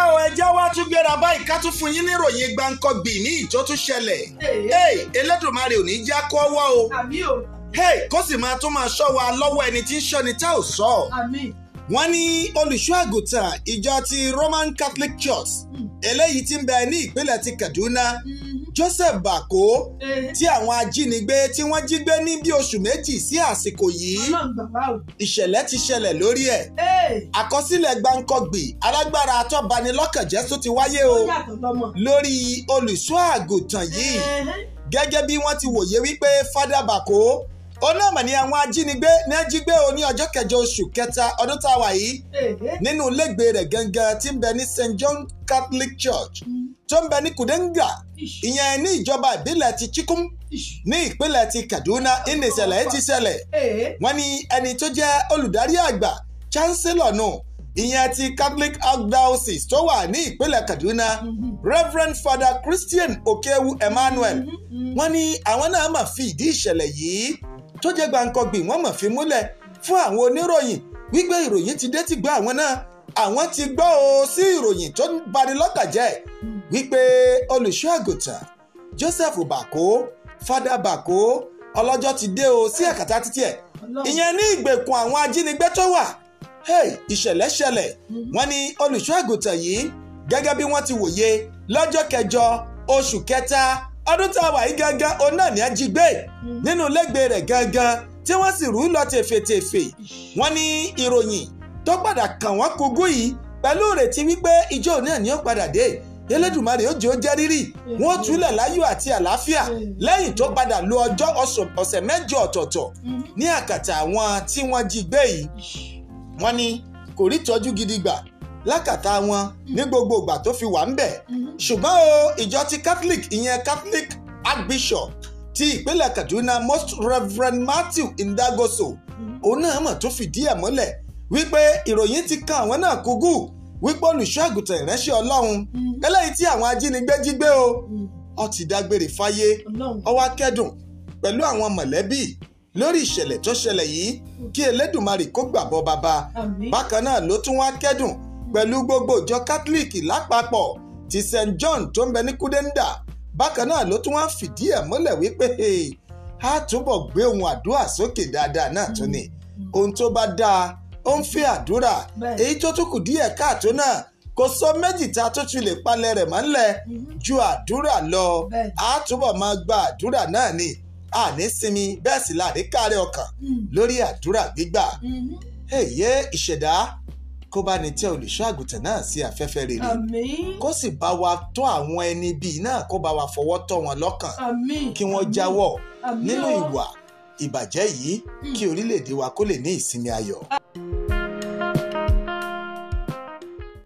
bá tún gbéra báyìí ká tún fún yín ní ìròyìn gbáǹkọ́gbì ní ìjó tún ṣẹlẹ̀ hey elédùnmarè ò ní já kó wá o àmì o hey kó sì máa tún máa ṣọ́ wa lọ́wọ́ ẹni tí ń ṣọ́ ni tá ò sọ àmì wọ́n ní olùṣọ́ àgùntàn ìjọ ti Roman Catholic Church eléyìí tí ń bẹ ní ìpínlẹ̀ ti Kaduna Joseph Bako tí àwọn ajínigbé tí wọ́n jí gbé ní bí oṣù méjì sí àsìkò yìí ọlọ́run bàbá o ìṣẹ̀lẹ̀ ti ṣẹlẹ̀ lórí ẹ̀ àkọsílẹ̀ gbáǹkọ́gbì alágbára atọ́banilọ́kànjẹ́ tó ti wáyé o ó yàtọ̀ lọ́mọ. lórí olùṣọ́ àgùntàn yìí gẹ́gẹ́ bí wọ́n ti wòye wípé fada bako ó náà mà ní àwọn ajínigbé ní ajígbé o ní ọjọ́ kẹjọ oṣù kẹta ọdún tá a wà yìí nínú ilégbèé rẹ̀ gangan tí ń bẹ ní St John Catholic Church tó ń bẹ ní Kudenga ìyẹn ní ìjọba ìbílẹ̀ ti Chikum ní ìpínlẹ̀ ti Kaduna ní ìṣẹ̀lẹ̀ yìí ti ṣẹlẹ̀ wọ́n ní ẹni tó jẹ́ olùdarí àgbà chancellor nù ìyẹn ti Catholic Archdiocese tó wà ní ìpínlẹ̀ Kaduna Reverend Father Christian Okewu Emmanuel wọ́n ní àwọn náà mà fi ìdí ìṣẹ̀lẹ̀ yìí tó jẹ́ gbàǹkọ̀gbìn wọ́n mà fi múlẹ̀ fún àwọn oníròyìn wípé ìròyìn ti dé ti gbọ́ àwọn náà àwọn ti gbọ́ o sí ìròyìn tó ń bani lọ́kàjẹ́ wípé olùṣọ́ àgùntàn Joseph Bako Fada Bako ọlọ́jọ́ ti dé o sí ẹ̀kátá títí ẹ̀ ìyẹn ní ìgbèkùn àwọn ajínigbé tó wà hey, ìṣẹ̀lẹ̀ ṣẹlẹ̀ wọ́n ní olùṣọ́ àgùntàn yìí gẹ́gẹ́ bí wọ́n ti wòye lọ́jọ́ kẹjọ oṣù kẹta ọdún tá a wà yìí gangan òun náà ní ajígbé nínú lẹ́gbẹ̀ẹ́ rẹ̀ gangan tí wọ́n sì rú lọ tèfètèfè wọ́n ní ìròyìn tó padà kàn wọ́n kúgú yìí pẹ̀lú ìrètí wípé ìjọ náà ni ó padà dé elédùnmarè ó jẹ́ ó jẹ́ rírì wọ́n ó túlẹ̀ láyọ̀ àti àlàáfíà lẹ́yìn tó padà lo ọjọ́ ọ̀sọ̀- ọ̀sẹ̀ mẹ́jọ ọ̀tọ̀ọ̀tọ̀ ní àkàtà àwọn tí wọ́n jí gbé yìí wọ́n ní kò rí ìtọ́jú gidi gbà lákàtà wọn ní gbogbo ìgbà tó fi wà ń bẹ̀ ṣùgbọ́n o ìjọ ti catholic ìyẹn catholic archbishop ti ìpínlẹ̀ kaduna most reverend matthew indagoso òun náà mọ̀ tó fìdí ẹ̀ mọ́lẹ̀ wípé ìròyìn ti kan àwọn náà kúgú wípé olùṣọ́ àgùntàn ìránṣẹ́ ọlọ́run eléyìí tí àwọn ajínigbé jí gbé o ó ti dágbére fáyé ọlọ́run ó wá kẹ́dùn pẹ̀lú àwọn mọ̀lẹ́bí lórí ìṣẹ̀lẹ̀ tó ṣẹlẹ̀ yìí kí elédùnmarè kó gbàbọ́ bàbá àmì bákan náà ló tún wá kẹ́dùn pẹ̀lú gbogbo ìjọ kátólíìkì lápapọ̀ ti st john tó ń bẹ ní kúdẹ́ńdà bákan náà ló tún wá fìdí ẹ̀ múlẹ̀ wípé "Hey, a túbọ̀ gbé ohun àdúrà sókè dáadáa náà tún ni ohun tó bá dáa ó ń fẹ́ àdúrà Bẹ́ẹ̀. èyí tó tún kù díẹ̀ káàtó náà kò sọ méjì tá a tó ti lè palẹ̀ rẹ̀ mọ́ ńlẹ̀ ju àdúrà lọ Bẹ́ẹ̀. a túbọ̀ máa gba àdúrà náà ni àní sinmi bẹ́ẹ̀ sì láàrin káàrẹ̀ ọkàn lórí àdúrà gbígbà èyí ìṣẹ̀dá kó bá ní tẹ olùṣọ́ àgùntàn náà sí afẹ́fẹ́ rere àmì kó sì bá wa tó àwọn ẹni bíi náà kó bá wa fọwọ́ tọ́ wọn lọ́kàn àmì kí wọ́n jáwọ́ àmì nínú o. ìwà ìbàjẹ́ yìí kí orílẹ̀-èdè wa kó lè ní ìsinmi ayọ̀.